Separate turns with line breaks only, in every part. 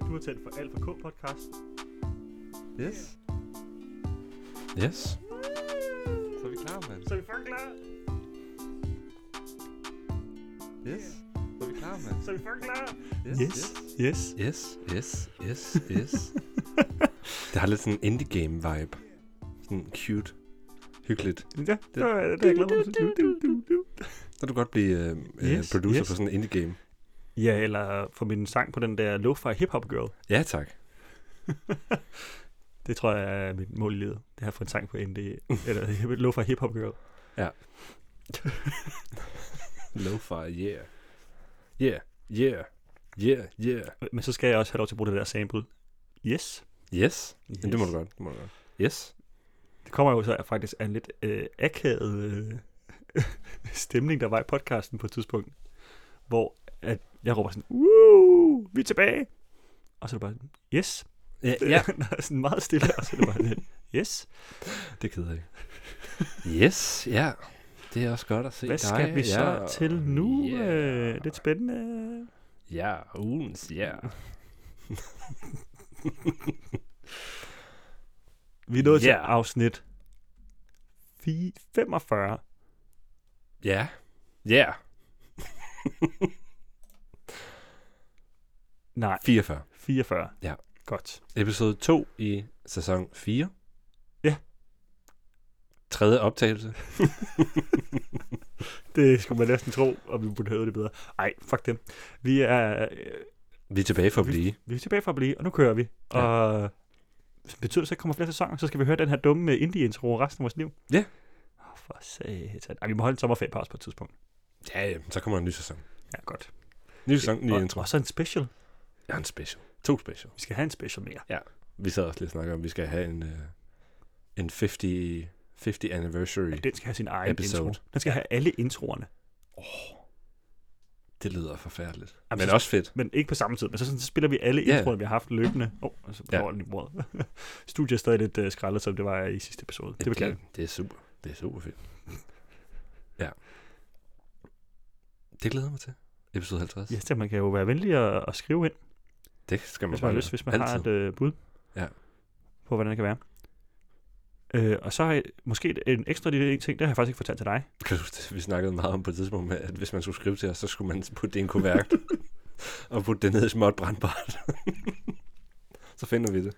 Kulturtelt for Alfa K podcast.
Yes.
Yes.
Så er vi klar, mand.
Så er vi fucking klar.
Yes. Så er vi klar, mand.
Så er vi fucking klar.
Yes.
yes.
Yes, yes, yes, yes. det har lidt sådan en indie-game-vibe. Sådan cute. Hyggeligt.
Ja, det er, det er jeg glad for. Du, du, du, du.
Så kan du godt blive øh,
Yes,
yes, producer
yes.
yes. på sådan en indie-game.
Ja, eller få min sang på den der lo-fi hip-hop girl.
Ja, tak.
Det tror jeg er mit mål i livet. Det har fået en sang på ND. Eller lo-fi hip-hop girl.
Lo-fi, yeah. Yeah, yeah, yeah, yeah.
Men så skal jeg også have lov til at bruge det der sample. Yes.
Yes.
yes.
yes. Det må du godt. Det må du godt. Yes.
Det kommer jo så af- faktisk af en lidt øh, akavet øh, stemning, der var i podcasten på et tidspunkt, hvor at jeg råber sådan, Woo, vi er tilbage! Og så er det bare sådan, yes.
Ja,
Der er Øh, sådan meget stille, og så er det bare sådan, yes.
det keder jeg. yes, ja. Det er også godt at se
Hvad
dig.
skal vi så
ja.
til nu? Øh,
Yeah.
Yeah. Lidt spændende.
Ja, ugens, ja.
Vi er nået yeah. til
Ja.
afsnit fi- 45.
Ja. Ja.
Nej,
44.
44.
Ja.
Godt.
Episode 2 i sæson 4.
Ja.
Tredje optagelse.
Det skulle man næsten tro, og vi burde have øvet det bedre. Ej, fuck den. Vi er øh,
Vi er tilbage for at
Vi-
blive.
vi er tilbage for at blive, og nu kører vi.
Ja.
Og betyder det så, at der kommer flere sæsoner, så skal vi høre den her dumme indie-intro resten af vores liv?
Ja.
Åh, for satan. Ej, vi må holde en sommerferiepause på et tidspunkt.
Ja, ja, så kommer en ny sæson.
Ja, godt.
Ny sæson, ny
og,
intro.
Og så en special.
Ja, en special. To special.
Vi skal have en special mere.
Vi sad også lige og snakkede om, at vi skal have en, øh, en 50, 50 anniversary.
Den skal have sin egen
Episode.
intro. Den skal have alle introerne.
Det lyder forfærdeligt.
Jamen,
Men
så-
også fedt.
Men ikke på samme tid, men så, sådan, så spiller vi alle
Ja.
introerne, vi har haft løbende. Åh, oh, så
Ja.
ja. den i bordet. Studiet er stadig lidt uh, skrællet, som det var i sidste episode. Det beklager vi.
det, det er super. Det er super fedt. Ja. Det glæder jeg mig til. Episode 50.
Ja, så man kan jo være venlig og, og skrive ind,
Det skal man
hvis man har
bare
lyst, hvis man
Altid.
har et øh, bud
Ja.
på, hvordan det kan være. Øh, og så har jeg måske en ekstra lille ting, det har jeg faktisk ikke fortalt til dig.
Kan du huske, vi snakkede meget om på et tidspunkt, med, at hvis man skulle skrive til os, så skulle man putte det i en kuvert. og putte det ned i småt brandbart. så finder vi det.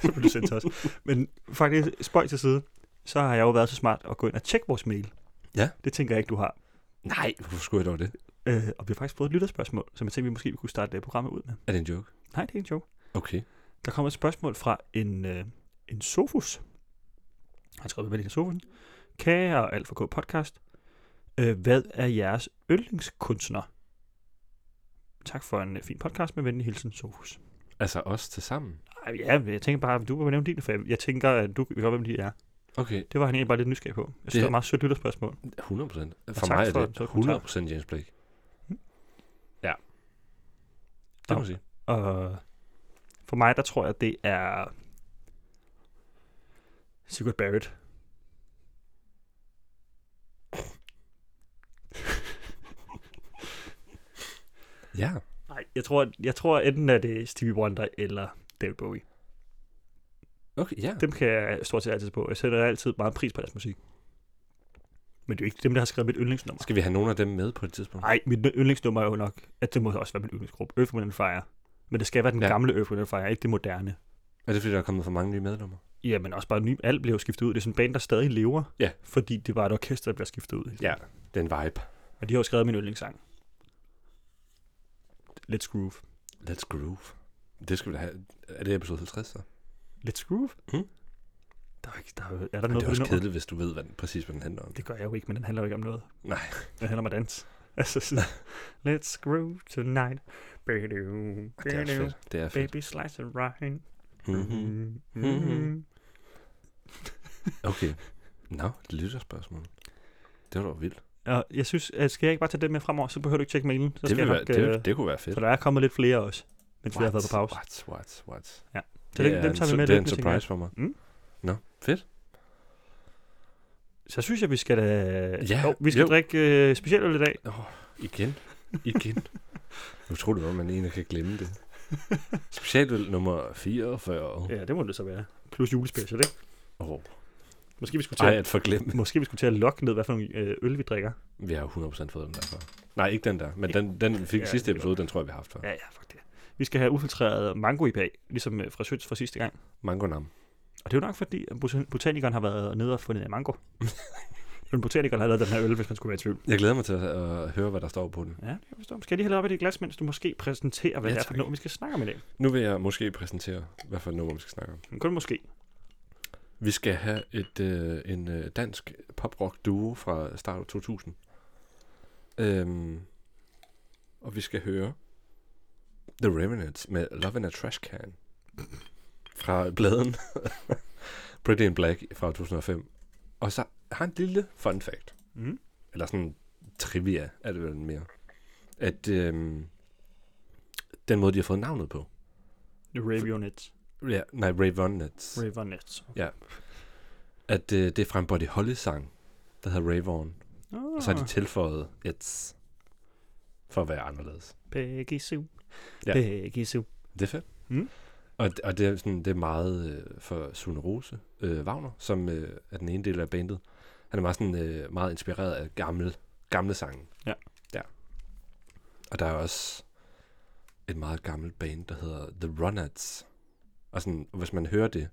så blev det sendt til os. Men faktisk, spøj til side, så har jeg jo været så smart at gå ind og tjekke vores mail.
Ja.
Det tænker jeg ikke, du har.
Nej, hvorfor skulle jeg dog det?
Øh, og vi har faktisk fået et lytterspørgsmål, som jeg tænkte, vi måske kunne starte øh, programmet ud med.
Er det en joke?
Nej, det er en joke.
Okay.
Der kommer et spørgsmål fra en, øh, en Sofus. Han skrev med i Sofus. Kære Alfa K podcast, øh, hvad er jeres yndlingskunstner? Tak for en øh, fin podcast med venlig hilsen, Sofus.
Altså os til sammen?
Ej, ja, men jeg tænker bare, at du må nævne dine, for jeg, jeg tænker, at du kan godt, hvem de er.
Okay,
Det var han egentlig bare lidt nysgerrig på. Jeg synes, det,
Det-
det var et meget sødt lytterspørgsmål.
100 procent. For
tak
mig er
for
det
den kommentar.
100 procent James Blake.
Mm.
Ja. Det må
Nå.
jeg sige.
Og for mig, der tror jeg, det er Sigurd Barrett.
Ja.
Nej, jeg tror, jeg tror enten er det Stevie Wonder eller David Bowie.
Okay, ja.
Dem kan jeg stort set altid på. Jeg sætter altid meget pris på deres musik. Men det er jo ikke dem, der har skrevet mit yndlingsnummer.
Skal vi have nogle af dem med på et tidspunkt?
Nej, mit yndlingsnummer er jo nok, at det må også være min yndlingsgruppe, Earth, Wind and Fire. Men det skal være den
Ja.
ja. gamle Earth, Wind and Fire, ikke det moderne.
Er det fordi, der er kommet for mange nye medlemmer?
Ja, men også bare ny, alt bliver jo skiftet ud. Det er sådan en band, der stadig lever,
Ja.
fordi det var et orkester, der bliver skiftet ud.
Ja. Det er en vibe.
Og de har jo skrevet min yndlingssang. Let's Groove.
Let's groove. Det skal vi da have. Er det episode 50 så?
Let's Groove?
Mm.
Der er, ikke, der er, er der
Men
noget
det
på
er også
det nummer?
kedeligt, hvis du ved hvad den, præcis, hvad den handler om.
Det gør jeg jo ikke, men den handler jo ikke om noget.
Nej.
Den handler om at danse. Altså sådan, let's groove tonight. Ba-do,
Det er
ba-do,
fedt. Det er fedt.
Baby slice Mm-hmm. of rind. Mhm.
Mm-hmm. Mhm. Okay. Nå, det lytter spørgsmål. Det var da vildt.
Og jeg synes, at skal jeg ikke bare tage det med fremover, så behøver du ikke tjekke mailen. Så skal
Det,
jeg
ville
nok,
være, det,
øh,
ville- det kunne være fedt.
For der er kommet lidt flere også, mens vi har været på pause.
What, what, what?
Så det, dem tager vi med
Det er en
løbende, tænker
surprise for mig.
Mm.
Nå, fedt.
jeg. Så synes jeg, vi skal da...
Ja,
jo, vi skal
jo.
drikke øh, specielt i dag.
Igen. Igen. Utroligt, hvor man egentlig kan glemme det. Specialøl nummer 44.
Ja, det må det så være. Plus julespecial, ikke?
Oh.
Måske vi skulle til,
Ej,
at,
at forglemme.
måske vi skulle til at lokke ned, hvad for nogle øh, øl vi drikker.
Vi har jo 100% fået den derfra. Nej, ikke den der. Men den, den fik
Ja,
ja, sidste
det er
episode, den tror jeg, vi har haft før. Ja.
Ja, ja, fuck det. Vi skal have ufiltreret mango IPA, ligesom øh, fra Søns fra sidste gang.
Mango nam.
Og det er jo nok fordi, at botan- botanikeren har været nede og fundet en mango. Men botanikeren har lavet den her øl, hvis man skulle være i tvivl.
Jeg glæder mig til at øh, høre, hvad der står på den.
Ja, det kan jeg forstå. Skal jeg lige hælde op i dit glas, mens du måske præsenterer, hvad
Ja,
ja, det er for
tak.
noget, vi skal snakke om i dag?
Nu vil jeg måske præsentere, hvad for et nummer vi skal snakke om.
Men kun måske.
Vi skal have et, øh, en øh, dansk poprock duo fra start af 2000. Øhm, og vi skal høre The Remnants med Love in a Trash Can fra bladen Pretty in Black fra 2005. Og så har en lille fun fact
Mm.
eller sådan trivia er det vel mere, at øhm, den måde, de har fået navnet på,
Ravionets.
ja, nej, Ray Vonnets,
Ravionets.
at øh, det er fra en Buddy Holly-sang, der hedder Ray Vaughan,
Oh.
og så har de tilføjet et for at være anderledes.
Ah, Peggy Sue.
Ja.
Ja. Peggy Sue.
Det er fedt.
Mm.
Og, og det, er sådan, det er meget øh, for Sune Rose øh, Wagner, som øh, er den ene del af bandet. Han er meget, sådan, øh, meget inspireret af gamle, gamle sange.
Ja.
ja. Og der er også et meget gammelt band, der hedder The Runats. Og sådan, hvis man hører det,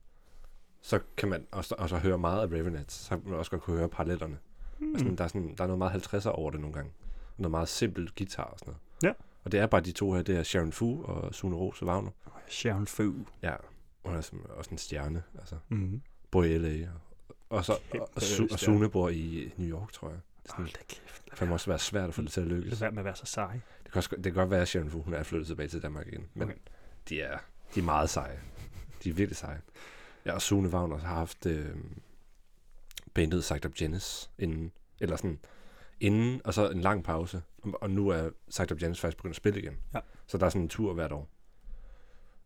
så kan man også, og så høre meget af Ravenets, så kan man også godt kunne høre paralletterne. Mm.
Mhm.
Og sådan, der, er sådan, der er noget meget 50'er over det nogle gange. Og noget meget simpelt guitar og sådan noget.
Ja.
Og det er bare de to her, det er Sharon Fu og Sune Rose Wagner.
Sharon Fu.
Ja, hun er som, også en stjerne, altså.
Mm.
Bor i L.A. og- Og, så,
Kæmpe
og, Su- og
stjerne.
Sune bor i New York, tror jeg. Det, er sådan,
Hold da kæft.
det kan også være svært at få det til at
Lad
lykkes.
være med at være så sej.
Det kan, også, det kan godt være, at Sharon Fu, hun er flyttet tilbage til Danmark igen. Men okay.
Okay.
de, er, de er meget seje. De er virkelig seje. Ja, og Sune Wagner har haft øh, bandet Sagt Up Janice inden. Eller sådan inden, og så en lang pause. Og- Og nu er Sagt Up Janice faktisk begyndt at spille igen.
Ja.
Så der er sådan en tur hvert år.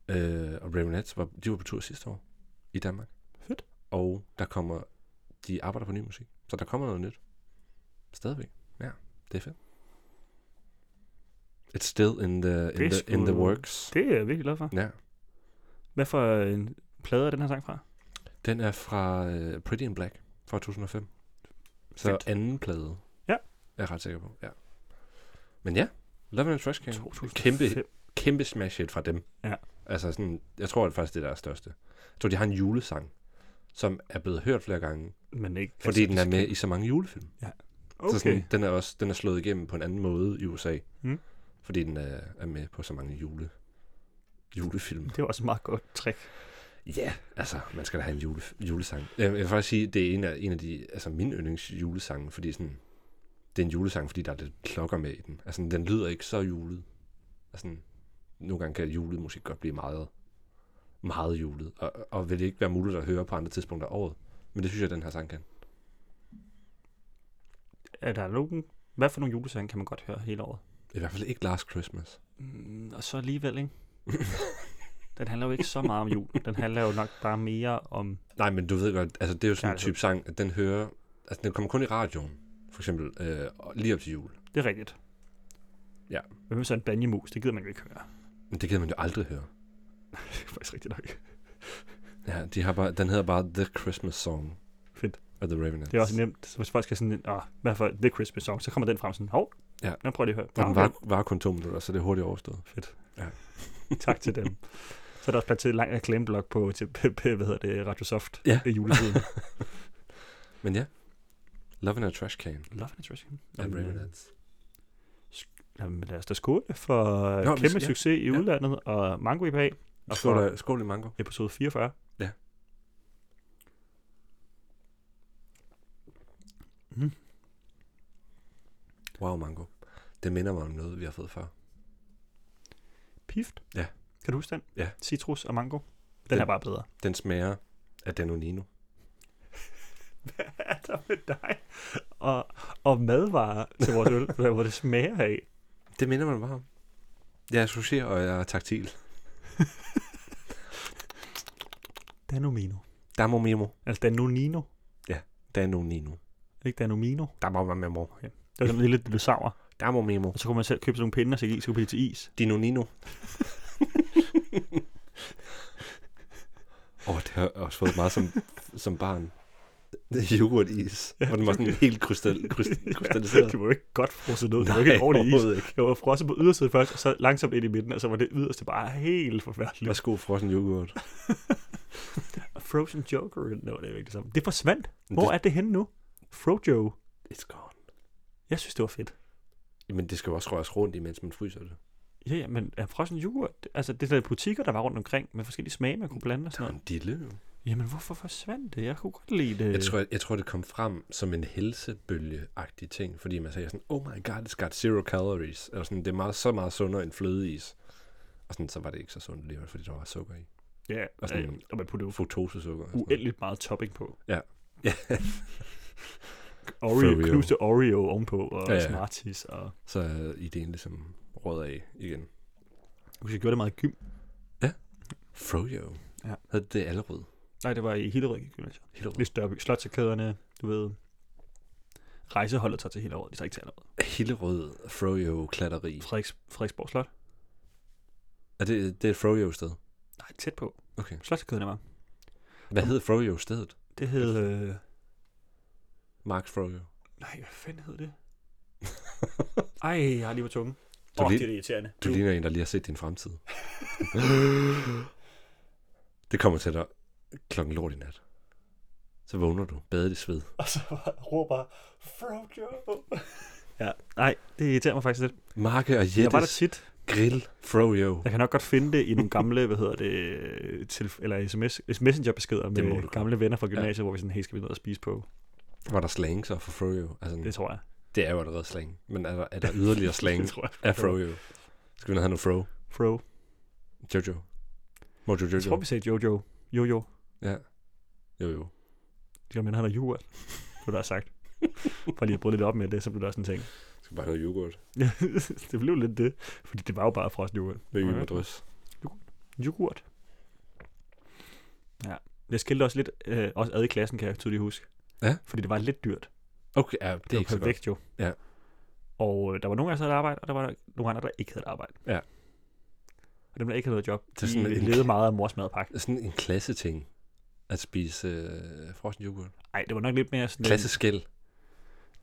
Øh, og Ravenettes, var, de var på tur sidste år i Danmark.
Fedt.
Og der kommer, de arbejder på ny musik. Så der kommer noget nyt. Stadigvæk. Ja, det er fedt. It's still in the,
Det
in the, in the
skulle-
works.
Det er jeg virkelig glad for.
Ja.
Hvad for øh, en plade er den her sang fra?
Den er fra uh, Pretty in Black fra 2005. Så
Fedt.
anden plade.
Ja.
Jeg er ret sikker på, ja. Men ja, Love and Trash Can.
2005.
Kæmpe, kæmpe smash hit fra dem.
Ja.
Altså sådan, jeg tror det er faktisk det, der er største. Jeg tror, de har en julesang, som er blevet hørt flere gange,
Men ikke.
fordi altså, den er
de
med
skal-
i så mange julefilm.
Okay.
Så sådan, den er også den er slået igennem på en anden måde i USA,
Mm.
fordi den er, er med på så mange jule, julefilm.
Det var også et meget godt trick.
Ja, yeah, altså, man skal da have en jule, julesang. Jeg, jeg vil faktisk sige, det er en af, en af de, altså min yndlingsjulesange, fordi sådan, det er en julesang, fordi der er lidt klokker med i den. Altså, den lyder ikke så julet. Altså, nogle gange kan julemusik godt blive meget, meget julet, og, og vil det ikke være muligt at høre på andre tidspunkter af året. Men det synes jeg, den her sang kan.
Er der nogen? Hvad for nogle julesange kan man godt høre hele året?
I hvert fald ikke Last Christmas.
Mm, og så alligevel, ikke? Den handler jo ikke så meget om jul. Den handler jo nok bare mere om...
Nej, men du ved godt, altså det er jo sådan en
Kærlighed.
type sang, at den hører, altså den kommer kun i radioen, for eksempel, øh, og lige op til jul.
Det er rigtigt.
Ja.
Men hvis så en banjemus, det gider man jo ikke høre.
Men det kan man jo aldrig høre.
Det er faktisk rigtigt nok.
Ja, de har bare, den hedder bare The Christmas Song.
Fedt.
Af The Ravenets.
Det er også nemt, så hvis folk skal sådan... Åh, hvad for The Christmas Song, så kommer den frem sådan... Hov,
Ja.
nu prøver jeg at høre.
Og den
Nå,
var, var kun to minutter, så det er hurtigt overstået.
Fedt.
Ja.
Ja. tak til dem. Så er der også plads til en lang reklameblok på til, hvad hedder det, Radio Soft
Ja.
i juletiden.
Men ja, Love in a Trash Can
Love and Attraction.
af Ravenets.
øh, Jamen, lad os da skåle for
Nå,
Nå,
vi
kæmpe
skal- ja.
succes i
Ja.
udlandet og Mango IPA
Og
Og
skål,
for-
for... skål i mango.
episode 44.
Ja.
Mm.
Wow, mango. Det minder mig om noget, vi har fået før.
Pift.
Ja.
Kan du huske den?
Ja.
Citrus og mango. Den,
Den-
er bare bedre.
Den smager af Danonino.
Hvad er der med dig? Og, og madvarer til vores øl, hvor det smager af.
Det minder man bare om. Jeg associerer, og jeg er taktil.
Danomino.
Damomimo.
Altså Danonino.
Danonino.
Ikke Danomino.
Damomimo.
Det er sådan lidt lidt sauer.
Damo Memo.
Og så kunne man selv købe sådan nogle pinde, og så skulle blive til is.
Dino Nino. Åh, oh, det har jeg også fået meget som, som barn. Det er yoghurtis, ja, hvor den var sådan helt krystal, krystal, krystalliseret.
Det var jo ikke godt frosset ud. Det var ikke en ordentlig is.
overhovedet ikke.
Det var frosset på ydersiden først, og så langsomt ind i midten, og så var det yderste bare helt forfærdeligt.
Værsgo, frossen yoghurt.
Og Frozen Joker, no, det er jo ikke det samme. Det forsvandt. Hvor
det,
er det henne nu? Frojo.
It's gone.
Jeg synes, det var fedt.
Men det skal jo også røres rundt, imens man fryser det.
Ja, ja, men er frossen yoghurt, altså det der butikker, der var rundt omkring med forskellige smage, man kunne blande og
Der er
sådan noget.
en dille. jo.
Jamen, hvorfor forsvandt det? Jeg kunne godt lide det.
Jeg tror, jeg, jeg tror, det kom frem som en helsebølge-agtig ting, fordi man sagde sådan, oh my god, it's got zero calories. Eller sådan, det er meget, så meget sundere end flødeis. Og sådan, så var det ikke så sundt alligevel, fordi der var sukker i.
ja,
og
og,
sådan-
sådan, og man puttede jo
Fructosesukker. og sådan noget.
uendeligt meget topping på.
Ja.
Ja.
Froyo.
Oreo, knuste Oreo ovenpå, og
Ja,
ja,
ja.
ja. Smarties, og
Så er ideen ligesom råd af igen.
jeg husker, jeg gjorde det meget i gym.
Froyo.
Ja.
Havde det allerød.
Nej, det var i Hillerød Gymnasium.
Helt
Lidt større by. Slotsakæderne, du ved. Rejseholdet tager til Hillerød, de tager ikke til Hillerød.
Hillerød Froyo-klatteri.
Frederiks, Frederiksborg Slot?
Er det, det er et Froyo-sted?
Nej, tæt på.
Okay.
Slotsakæderne var.
Hvad hed Froyo-stedet?
Det hed... Øh...
Max Froyo.
Nej, hvad fanden hed det? Ej, jeg har lige på tungen.
Du
Åh, oh,
lig-
det er da irriterende.
Du
Nu-
ligner en, der lige har set din fremtid. det kommer til dig klokken lort i nat. Så vågner du, badet i sved.
Og så bare råber Frojo. ja, nej, det irriterer mig faktisk lidt.
Marke og
Jeg var der
Jettes
tit.
grill Froyo.
Jeg kan nok godt finde det i nogle gamle, hvad hedder det, til, eller sms, messengerbeskeder
Det må du
med
godt.
gamle venner fra gymnasiet, ja. hvor vi sådan, hey, skal vi ned og spise på?
Var der slang så for Froyo? Altså,
Det
det,
tror jeg.
det er jo allerede slang. Men er der, er der yderligere slang
Det tror jeg.
af Froyo? Skal vi ned og have noget Fro?
Fro.
Jojo? Mojo Jojo?
Jeg tror, vi sagde Jojo. Jojo.
Ja. Jo jo.
Det kan man, han har yoghurt. Det har sagt. For lige at bryde lidt op med det, så blev det også en ting.
Skal bare have noget yoghurt.
Ja, det blev lidt det. Fordi det var jo bare frossen yoghurt.
Med
Okay.
okay. madrys.
Yoghurt. Ja. Jeg skilte også lidt øh, også ad i klassen, kan jeg tydeligt huske.
Ja.
Fordi det var lidt dyrt.
Okay, ja, det,
Det
er
var
ikke så godt.
perfekt jo.
Ja.
Og øh, der var nogle af os, der havde arbejde, og der var nogle andre, der ikke havde arbejde.
Ja.
Og dem, der ikke havde noget job,
Det er sådan
de
en-
levede meget af mors madpakke.
Sådan en klasseting at spise øh, frossen yoghurt.
Nej, det var nok lidt mere sådan... en-
Klasseskæld.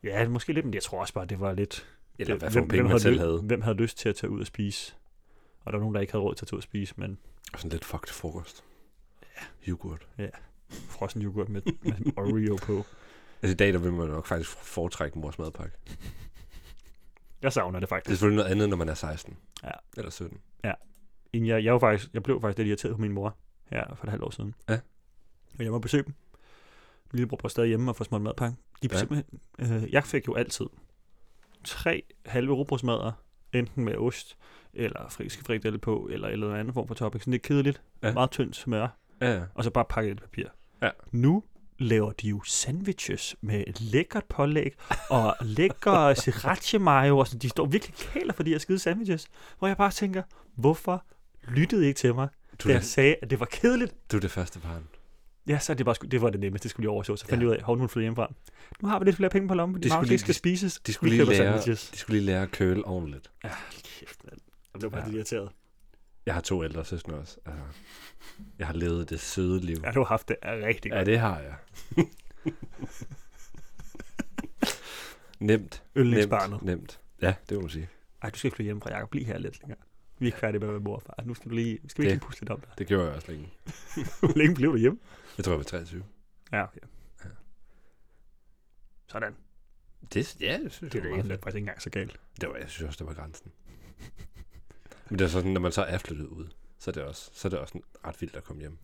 Ja, måske lidt, men jeg tror også bare, det var lidt...
Eller
det,
hvad for nogle penge man
havde
selv
lyst-
havde.
Hvem havde lyst til at tage ud og spise? Og der var nogen, der ikke havde råd til at tage ud og spise, men
Og sådan lidt fucked frokost. Ja. Yoghurt.
frossen yoghurt med, med Oreo på.
Altså i dag, der vil man nok faktisk foretrække mors madpakke.
Jeg savner det
Det er
faktisk.
selvfølgelig noget andet, når man er 16.
Ja.
Eller 17.
Inden Jeg, jeg, var faktisk, jeg blev faktisk lidt irriteret på min mor her for et halvt år siden.
Ja.
Og jeg var besøge dem. Min lillebror var stadig hjemme og får smurt madpakke. De ja.
Ja.
simpelthen, øh, jeg fik jo altid tre halve rugbrødsmadder, enten med ost, eller friske frikadelle på, eller en eller anden form for topping. Sådan lidt kedeligt,
Ja.
ja. meget tyndt smør,
Ja, ja.
og så bare pakket i et papir.
Ja.
Nu laver de jo sandwiches med lækkert pålæg og lækker sriracha mayo og sådan. De står virkelig kæler for de her skide sandwiches, hvor jeg bare tænker, hvorfor lyttede I ikke til mig,
Du,
du da
er
jeg
det-
sagde, at det var kedeligt?
du er det første barn.
Ja, så er det bare sku- det var det nemmeste, det skulle lige overså. Så fandt
Ja.
jeg ud af, at hun flyttede hjemmefra. Nu har vi lidt flere penge på lommen, de
De skulle
skulle
lige-
ikke skal spises.
De skulle,
Vi
lige
køber
lære,
sandwiches.
de skulle lige lære at køle ordentligt.
Ja, hold kæft, mand. Jeg blev bare
Ja.
ja. irriteret.
Jeg har to ældre søstre også. Altså, jeg har levet det søde liv.
Ja, du har haft det rigtig
Ja,
godt.
det har jeg. nemt.
Yndlingsbarnet.
Nemt, nemt. Ja, det må man sige.
Ej, du skal ikke flytte hjemmefra, Jacob. Bliv her lidt længere. Vi er ikke færdige med at være mor og far. Nu skal du lige, skal vi
Det-
ikke lige pusle lidt om dig?
Det gjorde jeg også længe.
Hvor længe blev du hjemme?
Jeg tror, jeg var 23.
Ja, okay.
Ja.
Sådan.
Det, ja, det synes
Det
jeg
er ikke,
var meget
det er
fedt.
faktisk ikke engang så galt.
Det var, jeg synes også, det var grænsen. Men det er sådan, når man så er flyttet ud, så er det også, så er det også sådan ret vildt at komme hjem.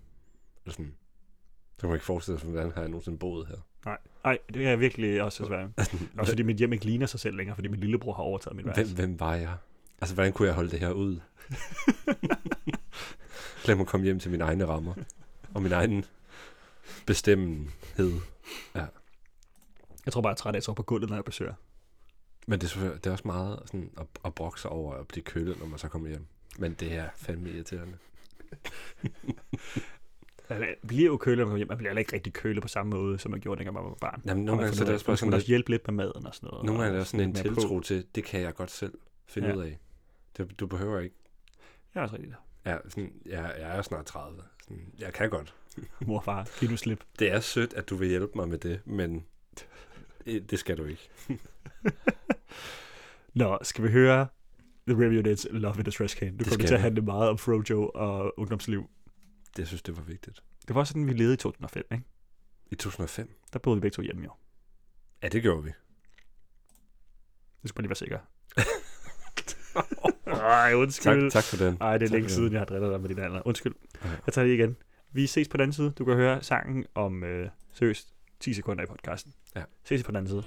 Eller sådan, så kan man ikke forestille sig, hvordan har jeg nogensinde boet her.
Nej, Ej, det er jeg virkelig også svært. Også fordi mit hjem ikke ligner sig selv længere, fordi min lillebror har overtaget mit værelse.
Hvem, hvem var jeg? Altså, hvordan kunne jeg holde det her ud? Lad mig komme hjem til mine egne rammer. Og min egen bestemmenhed.
Jeg tror bare, jeg er træt af at sove på gulvet, når jeg besøger.
Men det er, selvfølgelig- det er også meget sådan at, at brokke sig over at blive kølet, når man så kommer hjem. Men det er fandme irriterende.
Man bliver jo kølet, når man kommer hjem. Man bliver heller ikke rigtig kølet på samme måde, som man gjorde, dengang man var barn.
Jamen,
Og
nogle
man
gange så
finder
er det
ud af,
også bare
nu skal
sådan
man
lidt,
også hjælpe lidt med maden og sådan noget.
nogle gange er
og
der sådan en
lidt mere på.
tiltro til, det kan jeg godt selv finde
Ja.
ud af. Det, du behøver ikke.
Ja, også rigtigt.
Ja, sådan, jeg, jeg er snart 30. Sådan, jeg kan godt.
Mor og far, giv nu slip.
Det er sødt, at du vil hjælpe mig med det, men øh, det skal du ikke.
Nå, skal vi høre The Remunets Love in the Trash Can. Nu kommer
skal
det til at
vi.
handle meget om Frojo og ungdomsliv.
Det jeg synes det var vigtigt.
Det var sådan, vi levede i 2005, ikke?
I 2005?
Der boede vi begge to hjemme jo.
Ja, det gjorde vi.
Det skal bare lige være sikker. Ej,
Tak,
undskyld.
tak for den.
Ej, det er
tak
længe
for
siden, jeg har drillet dig med din alder. Undskyld.
Ja.
Jeg tager det igen. Vi ses på den anden side. Du kan høre sangen om øh, seriøst 10 sekunder i podcasten.
Ja.
Ses på den anden side.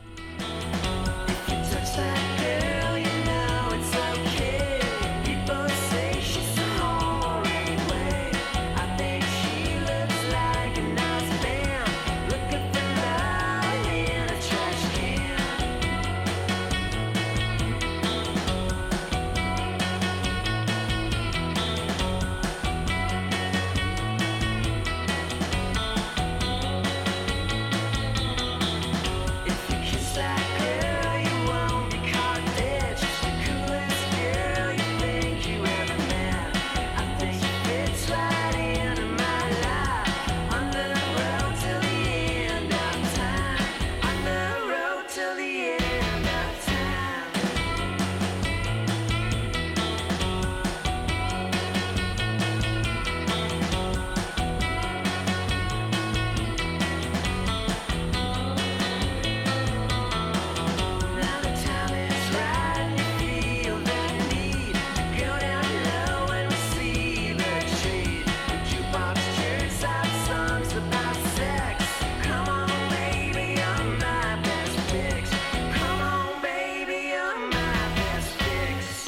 Till the end of time Now the time is right, we feel that need go down low and receive a treat. Jukebox cheers out songs about sex. Come on, baby, you're my best fix. Come on, baby, you're my best fix.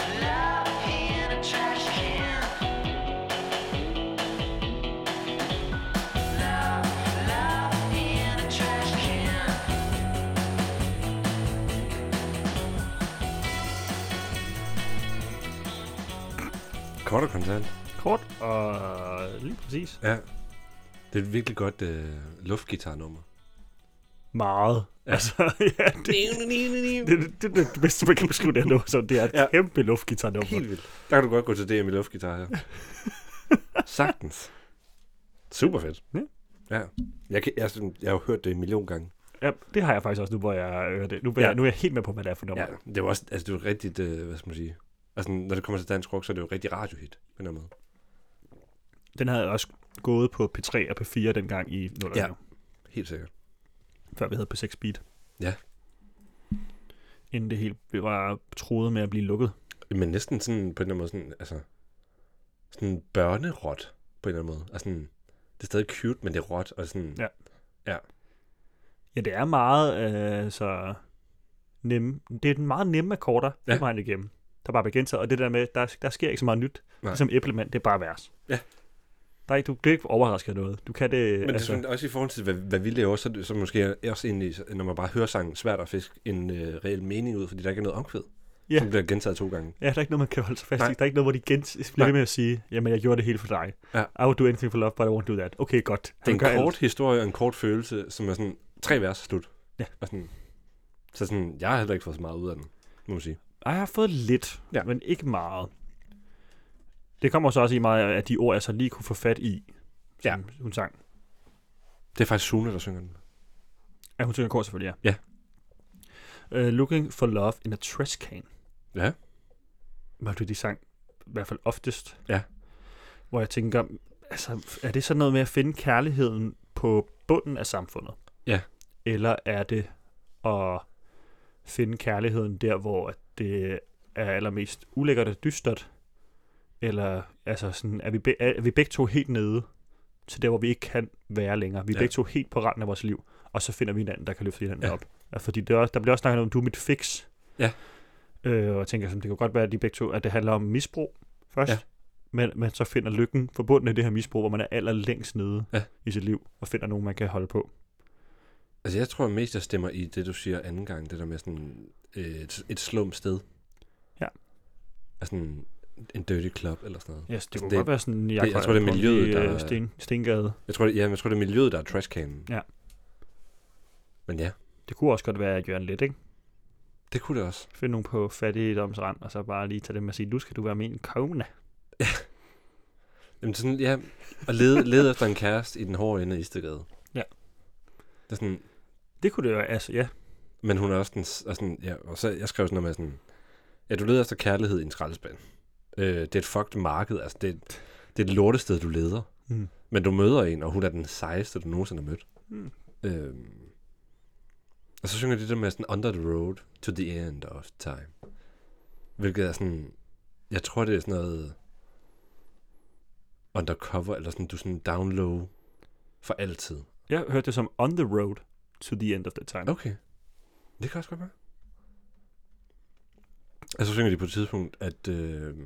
in a trash can. Love, love in a trash can.
Kort og kontant.
Kort og lige præcis.
Ja. Det er et virkelig godt øh, luftgitarnummer.
Meget. Ja. Altså, ja, det, det, det, det, det bedste, man kan beskrive det her nummer som. Det er et ja.
Ja.
kæmpe luftgitarnummer.
Helt vildt. Der kan du godt gå til DM i luftgitar her. Sagtens. Super fedt.
Ja.
ja. Jeg, kan, jeg, er sådan- jeg har jo hørt det en million gange.
Ja, det har jeg faktisk også nu, hvor jeg øh, hører det. Nu, ja.
Ja.
jeg, nu er jeg helt med på, hvad det er for nummer.
Ja, det er jo også, altså det er jo rigtigt, øh, hvad skal man sige, altså når det kommer til dansk rock, så er det jo rigtig radiohit, på en eller anden måde.
Den havde også gået på P3 og P4 dengang i 0'erne,
Ja.
ja.
Helt sikkert.
før vi havde på 6 Beat.
Ja.
Inden det helt var troet med at blive lukket.
Men næsten sådan, på en eller anden måde, sådan, altså, sådan børnerot, på en eller anden måde. Altså, sådan, det er stadig cute, men det er råt, og sådan,
Ja.
ja.
Ja, det er meget øh, så nem. Det er den meget nemme akkorder, ja.
Ja.
hele vejen igennem. Der bare bliver gentaget, og det der med, der, der sker ikke så meget nyt. Nej.
Nej.
Ligesom æblemand, det er bare vers.
Ja.
Der er ikke, du bliver ikke overrasket af noget. Du kan det,
Men altså,
altså,
sådan, også i forhold til, hvad, hvad vi laver, så, er det- så måske også egentlig, så- når man bare hører sangen, svært at fiske en øh, reel mening ud, fordi der ikke er noget omkvæd,
Ja.
ja. som bliver gentaget to gange.
ja, der er ikke noget, man kan holde sig fast
Nej.
i. Der er ikke noget, hvor de gent, bliver
Nej.
ved med at sige, jamen, jeg gjorde det hele for dig.
Ja.
I would do anything for love, but I won't do that. Okay, godt.
Det er
Han
en
gør alt.
kort historie og en kort følelse, som er sådan tre vers slut.
Ja.
Og sådan, så sådan, jeg har heller ikke fået så meget ud af den, må man sige.
Ej, jeg har fået lidt, ja.
Ja.
men ikke meget. Det kommer så også i meget, at de ord, jeg så lige kunne få fat i, som ja. hun sang.
Det er faktisk Sune, der synger den.
Ja, hun synger kor selvfølgelig,
Ja.
Uh, looking for love in a trash can.
Ja.
Var det de sang, i hvert fald oftest.
Ja.
Hvor jeg tænker, altså, er det sådan noget med at finde kærligheden på bunden af samfundet?
Ja.
Eller er det at finde kærligheden der, hvor at det er allermest ulækkert og dystert? Eller altså sådan, er vi, be- er vi begge to helt nede til der, hvor vi ikke kan være længere? Vi er
Ja.
ja. begge to helt på randen af vores liv, og så finder vi hinanden, der kan løfte hinanden
Ja.
ja. op. Ja, Fordi der, der bliver også snakket om, du er mit fix.
Ja.
Øh, og jeg tænker, sådan, det kan godt være, at de begge to, at det handler om misbrug først.
Ja.
Ja. Men man så finder lykken forbundet med det her misbrug, hvor man er allerlængst nede
Ja.
ja. i sit liv, og finder nogen, man kan holde på.
Altså, jeg tror mest, jeg stemmer i det, du siger anden gang, det der med sådan øh, et, et slum sted.
Ja.
Altså en, en dirty club eller sådan noget.
Yes, det kunne
Altså, det-
det, godt være sådan, jeg,
jeg tror, det er miljøet, der-
Sten, Stengade.
Jeg tror, det, ja, men jeg tror, det er miljøet, der er trashcanen.
Ja.
Men ja,
Det kunne også godt være Jørgen Let, ikke?
det kunne det også.
Finde nogen på fattigdomsrand, og så bare lige tage dem og sige, nu skal du være min kone.
Jamen sådan, ja, og lede, lede efter en kæreste i den hårde ende af Istegade.
Ja.
Det er sådan,
Det kunne det jo, altså, ja.
men hun er også den, s- og sådan, ja, og så, jeg skrev sådan noget med sådan, ja, du leder efter kærlighed i en skraldespand. Øh, det er et fucked marked, altså det, er et- det er et lortested, du leder.
Mm.
Men du møder en, og hun er den sejeste, du nogensinde har mødt.
Mm.
Øh, og så synger de det med sådan, under the road to the end of time. Hvilket er sådan, jeg tror, det er sådan noget undercover, eller sådan, du er sådan down low for altid.
Jeg hørte det som on the road to the end of the time.
Okay. Det kan også godt være. Og så synger de på et tidspunkt, at øh,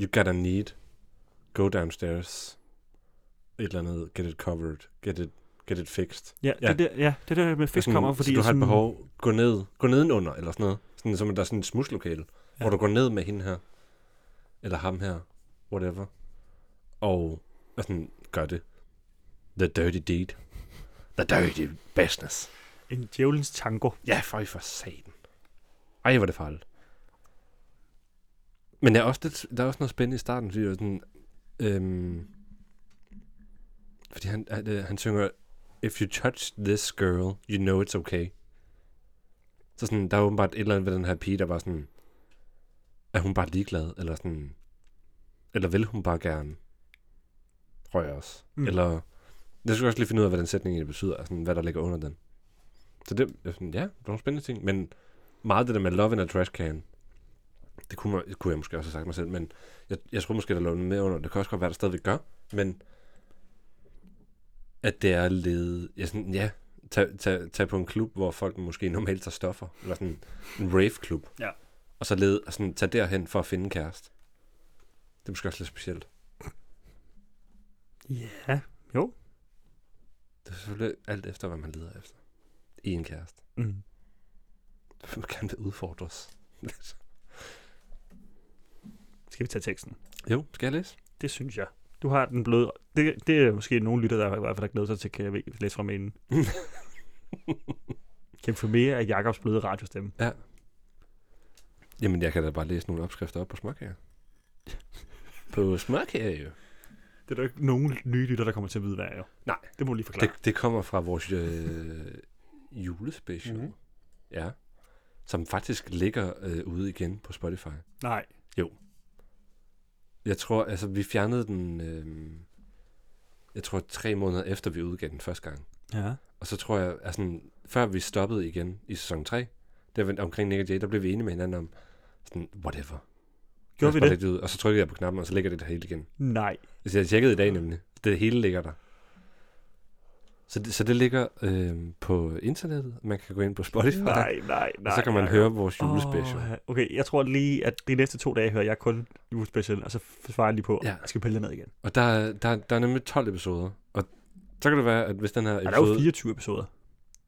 you gotta need, go downstairs, et eller andet, get it covered, get it, get it fixed.
Ja,
Ja.
det der, ja, det der med fisk
Sådan,
kommer, fordi...
så du
jeg
har et
sådan-
behov, gå ned, gå nedenunder, eller sådan noget. Sådan, som der er sådan et smuslokale, ja. hvor du går ned med hende her, eller ham her, whatever, og, og sådan, gør det. The dirty deed. The dirty business.
En djævelens tango.
Ja, for for satan. Ej, hvor er det farligt. Men der er også, lidt, der er også noget spændende i starten, fordi det er sådan, øhm, fordi han, han, øh, han synger, If you touch this girl, you know it's okay. Så sådan, der er åbenbart et eller andet ved den her pige, der var sådan, er hun bare ligeglad, eller sådan, eller vil hun bare gerne røre os? Mm.
Mm.
Eller, jeg skal også lige finde ud af, hvad den sætning egentlig betyder, og sådan, hvad der ligger under den. Så det, jeg er sådan, ja, det var nogle spændende ting, men meget det der med love in a trash can, det kunne, man, det kunne jeg måske også have sagt mig selv, men jeg, jeg tror måske, der lå noget med under, det kan også godt være, der stadigvæk gør, men at det er lede, ja, sådan, ja, tag, tag, tag på en klub, hvor folk måske normalt tager stoffer, eller sådan en rave-klub,
Ja.
og så lede, og sådan, tag derhen for at finde en kæreste. Det er måske også lidt specielt.
Ja, jo.
Det er selvfølgelig alt efter, hvad man leder efter. I en kæreste.
Mm.
Man vil gerne vil udfordres.
Skal vi tage teksten?
jo, skal jeg læse?
Det synes jeg. Du har den bløde... Det, det er måske nogle lytter, der i hvert fald har glædet sig til, kan jeg ved- læse fra mailen. kan få mere af Jakobs bløde radiostemme.
Ja. Jamen, jeg kan da bare læse nogle opskrifter op på småkager. på småkager, jo.
Det er der jo ikke nogen nye lytter, der kommer til at vide, hvad er jo.
Nej.
Det må du lige forklare.
Det, det kommer fra vores øh, julespecial. Mm-hmm.
Mhm.
Ja. Som faktisk ligger øh, ude igen på Spotify.
Nej.
Jeg tror, altså, vi fjernede den, øh, jeg tror, tre måneder efter, vi udgav den første gang.
Ja.
Og så tror jeg, altså, før vi stoppede igen i sæson 3, der var omkring Nick og Jay, der blev vi enige med hinanden om, sådan, whatever. Lad
Gjorde
os
vi
bare
det?
lægge Ud, og så trykkede jeg på knappen, og så ligger det der hele igen.
Nej.
Så Altså, jeg tjekkede i dag nemlig. Det hele ligger der. Så det, så det ligger øh, på internettet. Man kan gå ind på Spotify.
Nej, nej, nej.
og så kan man
nej.
høre vores julespecial.
Åh, okay, jeg tror lige, at de næste to dage hører jeg kun julespecial, og så svarer jeg lige på,
Ja.
ja. jeg skal pille det ned igen.
Og der, er- der, der er nemlig 12 episoder. Og så kan det være, at hvis den her
Og der er jo
episode...
24 episoder.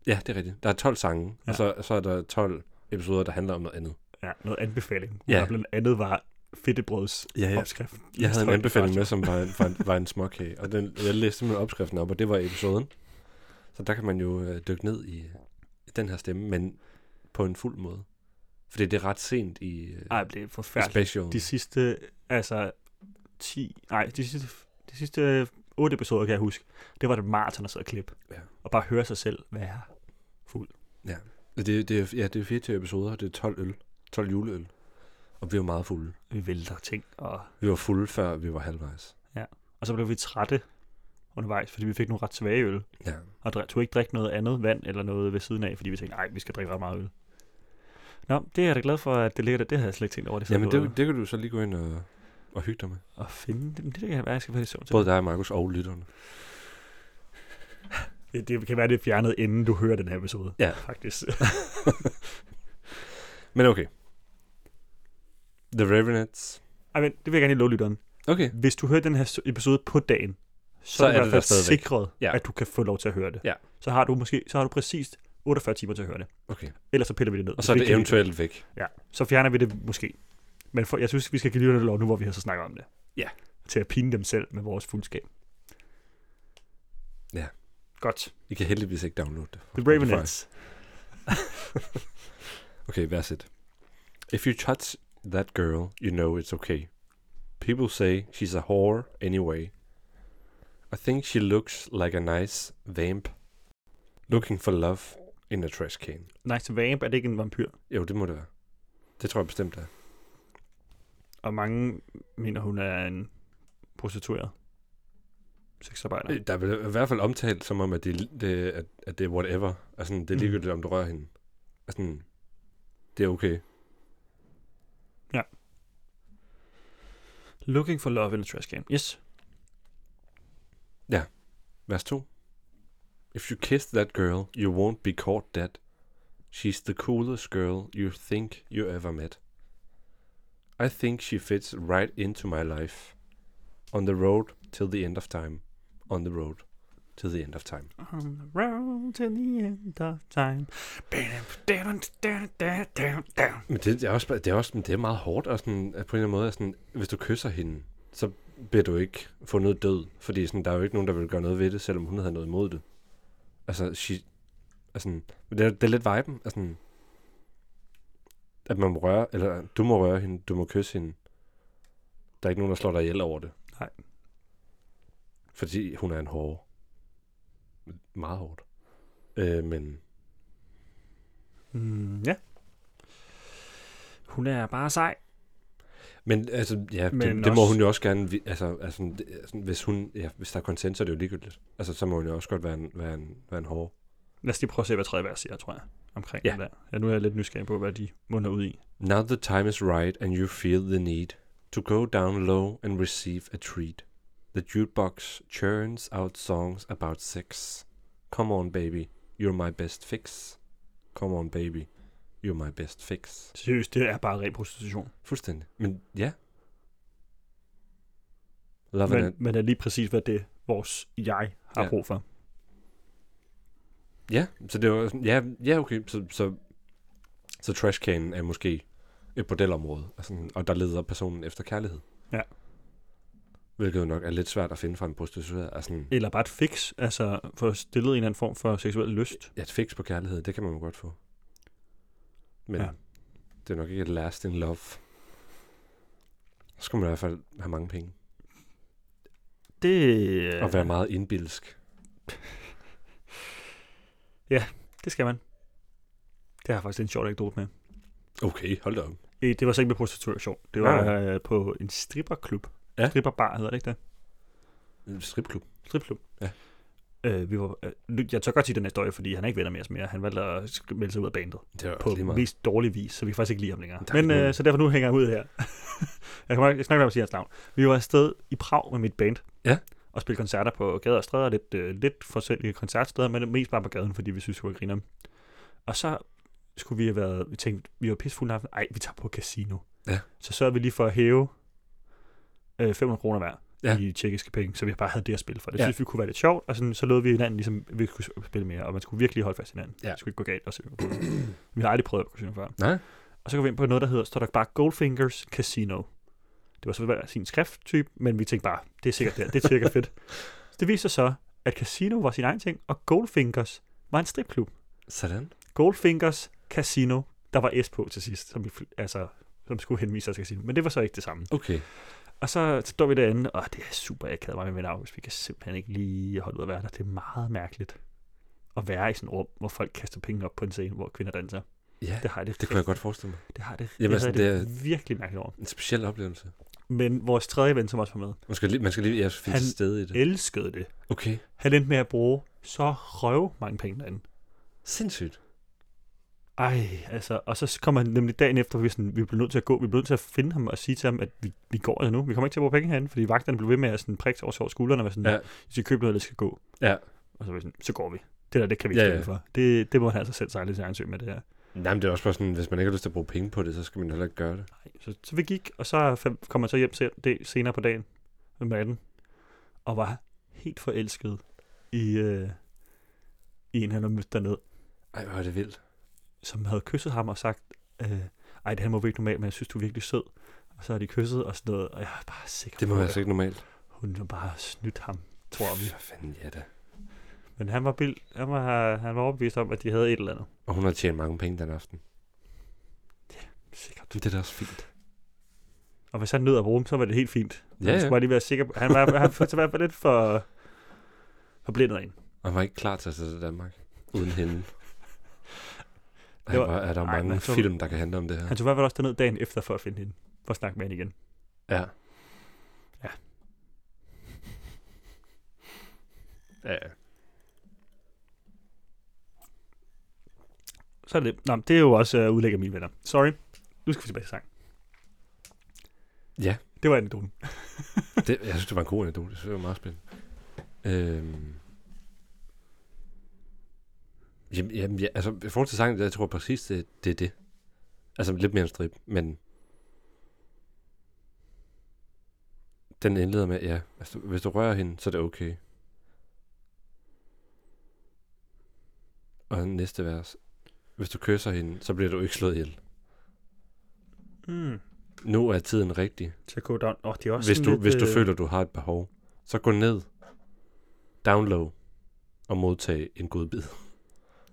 Ja, det er rigtigt. Der er 12 sange, ja.
Ja.
og så, så er der 12 episoder, der handler om noget andet.
Ja, noget anbefaling.
Ja.
Ja. Der blandt andet var fedtebrøds
Ja,
opskrift.
Jeg havde en
Historie
anbefaling
først.
med, som var en, var en, var en småkage, og den, jeg læste simpelthen opskriften op, og det var episoden. Så der kan man jo øh, dykke ned i, i den her stemme, men på en fuld måde. Fordi det er ret sent i, øh,
Ej, det er
i
forfærdeligt.
special.
Ah, De sidste, altså 10, nej, de sidste, de sidste 8 episoder, kan jeg huske, det var det maraton at sidde og klippe.
Ja.
Og bare høre sig selv være fuld.
Det, det, er- ja, det er 24 episoder, og det er 12 øl. 12 juleøl. Og vi var meget fulde.
Vi vælter ting, og,
Vi var fulde, før vi var halvvejs.
og så blev vi trætte, undervejs, fordi vi fik nogle ret svage øl,
Ja.
og drik- tog ikke drikke noget andet vand eller noget ved siden af, fordi vi tænkte, nej, vi skal drikke ret meget øl. Nå, det er jeg da glad for, at det ligger der. Det havde jeg slet ikke tænkt over. Det sad
Jamen,
på-
det, det kan du så lige gå ind og, og hygge dig med.
at finde dem. Det kan være, jeg skal faktisk søvn til.
Både dig, Markus og lytterne.
Det, det kan være, det er fjernet, inden du hører den her episode.
Ja.
Faktisk.
Men okay. The Revenants.
Ej, men det vil jeg gerne lige love lytteren.
Okay.
Hvis du hører den her episode på dagen, så,
Så
så er
er
det i hvert
det der
fald
stadigvæk.
sikret,
Ja.
ja. at du kan få lov til at høre det.
Ja.
Så har du måske, så har du præcis 48 timer til at høre det.
Okay.
Ellers så piller vi det ned.
Og så er
Hvis vi
det
ikke kan
eventuelt væk.
lide det. Ja, så fjerner vi det måske. Men for, jeg synes, vi skal give lytterne lov nu, hvor vi har så snakket om det.
Ja.
Til at pine dem selv med vores fuldskab.
Ja.
Godt.
I kan heldigvis ikke downloade det.
The Ravenets.
Okay, vers 1. If you touch that girl, you know it's okay. People say she's a whore anyway. I think she looks like a nice vamp looking for love in a trash can.
Nice Vamp, er det ikke en vampyr?
Jo, det må det være. Det tror jeg bestemt det er.
Og mange mener, hun er en prostitueret sexarbejder.
Øh, Der er vel i hvert fald omtalt som om, at det, er- det, at, at det er whatever. Altså, det er
Mm.
ligegyldigt, om du rører hende. Altså, det er okay.
Looking for love in a trash can. Yes.
Vers 2. If you kiss that girl, you won't be caught dead. She's the coolest girl you think you ever met. I think she fits right into my life. On the road till the end of time. On the road till the end of time.
On the road to the end of time.
Men det, det, er, også, det, er også, men det er meget hårdt, og sådan, at på en eller anden måde, at sådan, hvis du kysser hende, så bliver du ikke fundet død, fordi sådan, der er jo ikke nogen, der vil gøre noget ved det, selvom hun havde noget imod det. Altså, she, altså men det, er, det er lidt viben, altså, at man må røre, eller du må røre hende, du må kysse hende. Der er ikke nogen, der slår dig ihjel over det.
Nej.
Fordi hun er en hård. Meget hårdt. Øh, men
Mm, ja. Hun er bare sej.
Men altså, ja, men det,
Men
det må
også-
hun jo også gerne, vi- altså, altså, det- altså hvis, hun, ja, hvis der er konsens, så er det jo ligegyldigt. Altså, så må hun jo også godt være en, være en, være en hård.
Lad os lige prøve at se, hvad tredje vers siger, tror jeg. Omkring
Ja.
ja. det der. Ja, nu er jeg lidt nysgerrig på, hvad de munder ud i.
Now the time is right, and you feel the need to go down low and receive a treat. The jukebox churns out songs about sex. Come on, baby, you're my best fix. Come on, baby, you're my best fix.
Seriøst, det er bare ren prostitution.
Fuldstændig. Men ja. Love and
Men, men er lige præcis, hvad det vores jeg har
Ja.
ja. brug for.
Ja, så det var sådan- ja, ja okay, så, så, så trashcanen er måske et bordelområde, og, sådan, og der leder personen efter kærlighed.
Ja.
Hvilket jo nok er lidt svært at finde fra en prostitueret. Er sådan,
Eller bare et fix, altså få stillet en eller anden form for seksuel lyst.
ja, et fix på kærlighed, det kan man jo godt få. Men ja.
Ja.
det er nok ikke et last in love. Så skulle man i hvert fald have mange penge.
Det,
Ja. Og være meget indbilsk.
det skal man. Det har jeg faktisk en sjov anekdote med.
Okay, hold da op.
Øh, Det var så ikke med prostitution. Det
Nej,
var øh, på en stripperklub.
Ja.
Stripperbar hedder det ikke det?
En stripklub.
Stripklub.
Ja.
Øh, vi var, øh, nu- jeg tør godt sige den her historie, fordi han er ikke venner med os mere. Han valgte at sk- melde sig ud af bandet
Det er
på
også lige meget.
mest dårlig vis, så vi kan faktisk ikke lide ham længere.
Der er
Men
ikke nogen-
øh, så derfor nu hænger jeg ud her. jeg, kommer, jeg snakker om at sige hans navn. Vi var afsted i Prag med mit band.
Ja.
Og spille koncerter på gader og stræder, lidt, øh, lidt forskellige koncertsteder, men mest bare på gaden, fordi vi synes, det var griner. Og så skulle vi have været, vi tænkte, vi var pissefulde aften. Ej, vi tager på casino.
Ja.
Så sørgede vi lige for at hæve øh, 500 kroner hver
Ja.
ja. i tjekkiske penge, så vi bare havde det at spille for. Det
Ja.
ja. synes vi kunne være lidt sjovt, og sådan, så lød vi hinanden, ligesom vi skulle spille mere, og man skulle virkelig holde fast i hinanden.
Ja.
Det skulle ikke gå galt. Og så, vi har aldrig prøvet casino før.
Nej.
Og så går vi ind på noget, der hedder, står der bare Goldfingers Casino. Det var så hver sin skrifttype, men vi tænkte bare, det er sikkert der, det er sikkert fedt. Så det viste sig så, at Casino var sin egen ting, og Goldfingers var en stripklub.
Sådan.
Goldfingers Casino, der var S på til sidst, som, vi, fl- altså, som skulle henvise os til Casino, men det var så ikke det samme.
Okay.
Og så står vi derinde, og det er super akavet mig med min August. Vi kan simpelthen ikke lige holde ud at være der. Det er meget mærkeligt at være i sådan et rum, hvor folk kaster penge op på en scene, hvor kvinder danser.
Ja,
Det har jeg det,
det kunne jeg godt forestille mig.
Det har jeg det,
Jamen,
Jamen,
altså,
det, det, virkelig mærkeligt over.
En speciel oplevelse.
Men vores tredje ven, som også var med,
Man skal lige, man skal lige jeg finde
Han-
til stede i det.
elskede det.
Okay.
Han endte med at bruge så røv mange penge derinde.
Sindssygt.
Ej, altså, og så kom han nemlig dagen efter, vi, sådan, vi blev nødt til at gå, vi blev nødt til at finde ham og sige til ham, at vi, vi går altså nu, vi kommer ikke til at bruge penge herinde, fordi vagterne blev ved med at sådan prikke over, over skuldrene og være sådan,
Ja.
ja. I skal købe noget, eller I skal gå.
Ja.
Og så var vi sådan, så går vi. Det der, det kan vi ikke
Ja,
ja, ja.
ja.
for. Det, det må han altså selv sejle til ansøg med det her.
Nej, men det er også bare sådan, hvis man ikke har lyst til at bruge penge på det, så skal man heller ikke gøre det.
Nej, Så, så vi gik, og så fam- kom han så hjem selv det, senere på dagen med matten, og var helt forelsket i, øh, i en, han havde mødt dernede,
Ej, hvor er det vildt.
som havde kysset ham og sagt, øh, ej, det her må vi ikke normalt, men jeg synes, du er virkelig sød. Og så har de kysset og sådan noget, og jeg er bare sikker
Det må
på,
være
at
altså ikke normalt.
hun har bare snydt ham, tror vi.
For fanden, ja da.
Men han var, bild, han var, han var overbevist om, at de havde et eller andet.
Og hun har tjent mange penge den aften.
Sikkert.
Det er da også fint.
Og hvis han nød at bruge dem, så var det helt fint. Ja,
Ja,
Han
ja.
skulle bare lige være sikker på. Han var, han var i hvert fald lidt for, for blindet af en.
Og han var ikke klar til at tage til Danmark. Uden hende. Ej,
Det var-
var, er der jo
Ej,
mange
men så-
film, der kan handle om det her.
Han tog i hvert fald også derned dagen efter for at finde hende. For at snakke med hende igen.
Ja.
Ja.
Ja, ja.
Så er det det. Nå, men det er jo også uh, udlæg af mine venner. Sorry. Nu skal vi tilbage til sang.
Ja.
Det var anekdoten.
Det, jeg synes, det var en god anekdote. Jeg synes, det var meget spændende. Øhm. Jamen, jamen ja, altså, i forhold til sangen, jeg tror præcis, det, det er det. Altså, lidt mere en strip, men... Den indleder med, ja, altså, hvis du rører hende, så er det okay. Og næste vers. Hvis du kysser hende, så bliver du ikke slået ihjel.
Mm.
Nu er tiden rigtig.
Så go down. Åh, det er også
Hvis
sådan
du,
lidt,
hvis du
øh,
føler, du har et behov, så gå ned, download og modtag en godbid.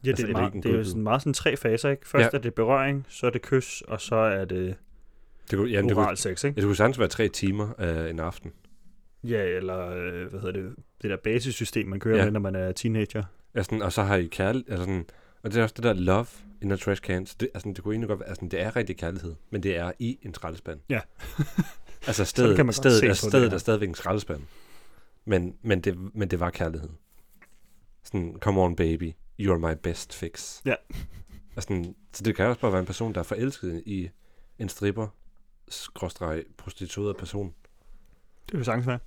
Ja, det,
altså, er
er,
det
meget,
ikke en
det er jo
god
sådan meget sådan tre faser, ikke? Først
Ja.
ja. er det berøring, så er det kys, og så er det
Det kunne, jamen, det kunne,
oral sex, ikke?
det kunne sagtens være tre timer øh, en aften.
Ja, eller øh, hvad hedder det? Det der basissystem, man kører
Ja.
ja. med, når man er teenager.
Ja, sådan, og så har I kærlighed. Altså sådan, og det er også det der love in a trash can. Så det, altså, det kunne egentlig godt være, altså, det er rigtig kærlighed, men det er i en skraldespand.
Ja.
altså
Sådan kan man
stedet,
godt
stedet,
se på
er,
det
stedet
her.
er stadigvæk en skraldespand. Men, men, det, men det var kærlighed. Sådan, come on baby, you're my best fix.
Ja.
Og sådan, så det kan også bare være en person, der er forelsket i en stripper, skråstreg, prostitueret person.
Det er jo sagtens være.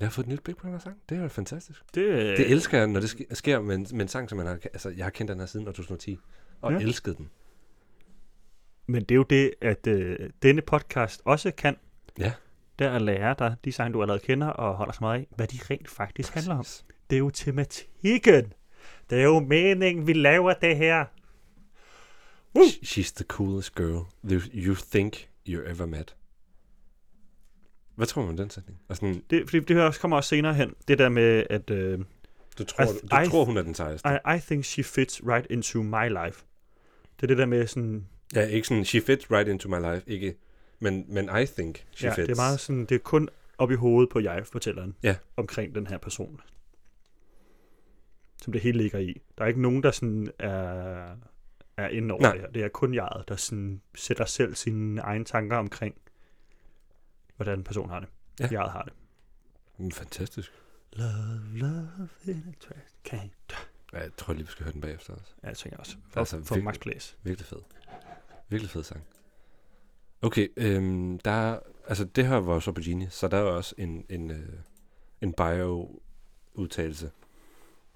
Jeg har fået et nyt Big Brother sang. Det er jo fantastisk.
Det, øh,
Det elsker jeg, når det sk- sker med en, med en sang, som man har... Altså, jeg har kendt den her siden år 2010, og
Ja.
ja. elsket den.
Men det er jo det, at øh, denne podcast også kan.
Ja.
Der at lære dig de sange, du allerede kender og holder så meget af, hvad de rent faktisk handler om.
Præcis.
Det er jo tematikken. Det er jo meningen, vi laver det her. Woo!
She- She's the coolest girl that you think you ever met. Hvad tror man om den sætning? Og sådan,
Det, fordi det her også kommer også senere hen. Det der med, at øh,
du tror,
I-
du, du
Altså, I-
tror hun er den sejeste.
I, I think she fits right into my life. Det er det der med sådan,
Ja, ikke sådan, she fits right into my life, ikke... Men, men I think she
ja,
fits.
det er meget sådan, det er kun op i hovedet på jeg-fortælleren
Ja.
omkring den her person. Som det hele ligger i. Der er ikke nogen, der sådan er, er inde over
Nej.
det her. Det er kun jeget, der sådan sætter selv sine egne tanker omkring, hvordan en person har det.
Ja.
Ja. Jeget har det.
Mm, fantastisk.
Love, love, in a trash can.
Ja, jeg tror lige, vi skal høre den bagefter også.
Ja, det tænker jeg også. For,
Altså,
altså, for
virkelig-
Max Plays.
Virkelig fed. Virkelig fed sang. Okay, øhm, der er, altså det her var jo så på Genie, så der er jo også en, en, øh, en bio-udtalelse.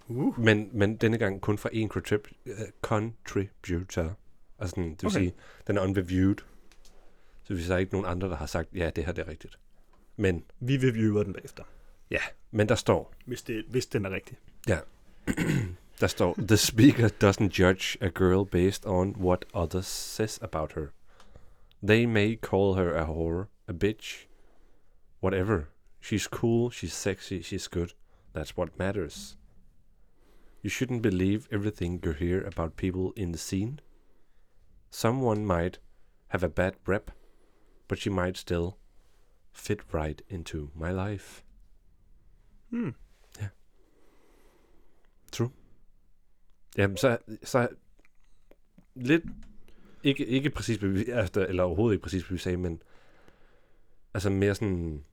Uh.
Men, men denne gang kun fra en contrib- øh, contributor. Altså den, det vil
Okay.
okay. sige, den er unreviewed. Så hvis der er ikke nogen andre, der har sagt, ja, det her det er rigtigt. Men,
Vi reviewer den bagefter,
men der står,
hvis, det, hvis den er rigtig.
Der står, the speaker doesn't judge a girl based on what others says about her. They may call her a whore, a bitch, whatever. She's cool, she's sexy, she's good. That's what matters. You shouldn't believe everything you hear about people in the scene. Someone might have a bad rep, but she might still fit right into my life.
Hmm.
Jamen, så, så lidt ikke, ikke præcis, hvad vi, altså, eller overhovedet ikke præcis, hvad vi sagde, men altså mere sådan,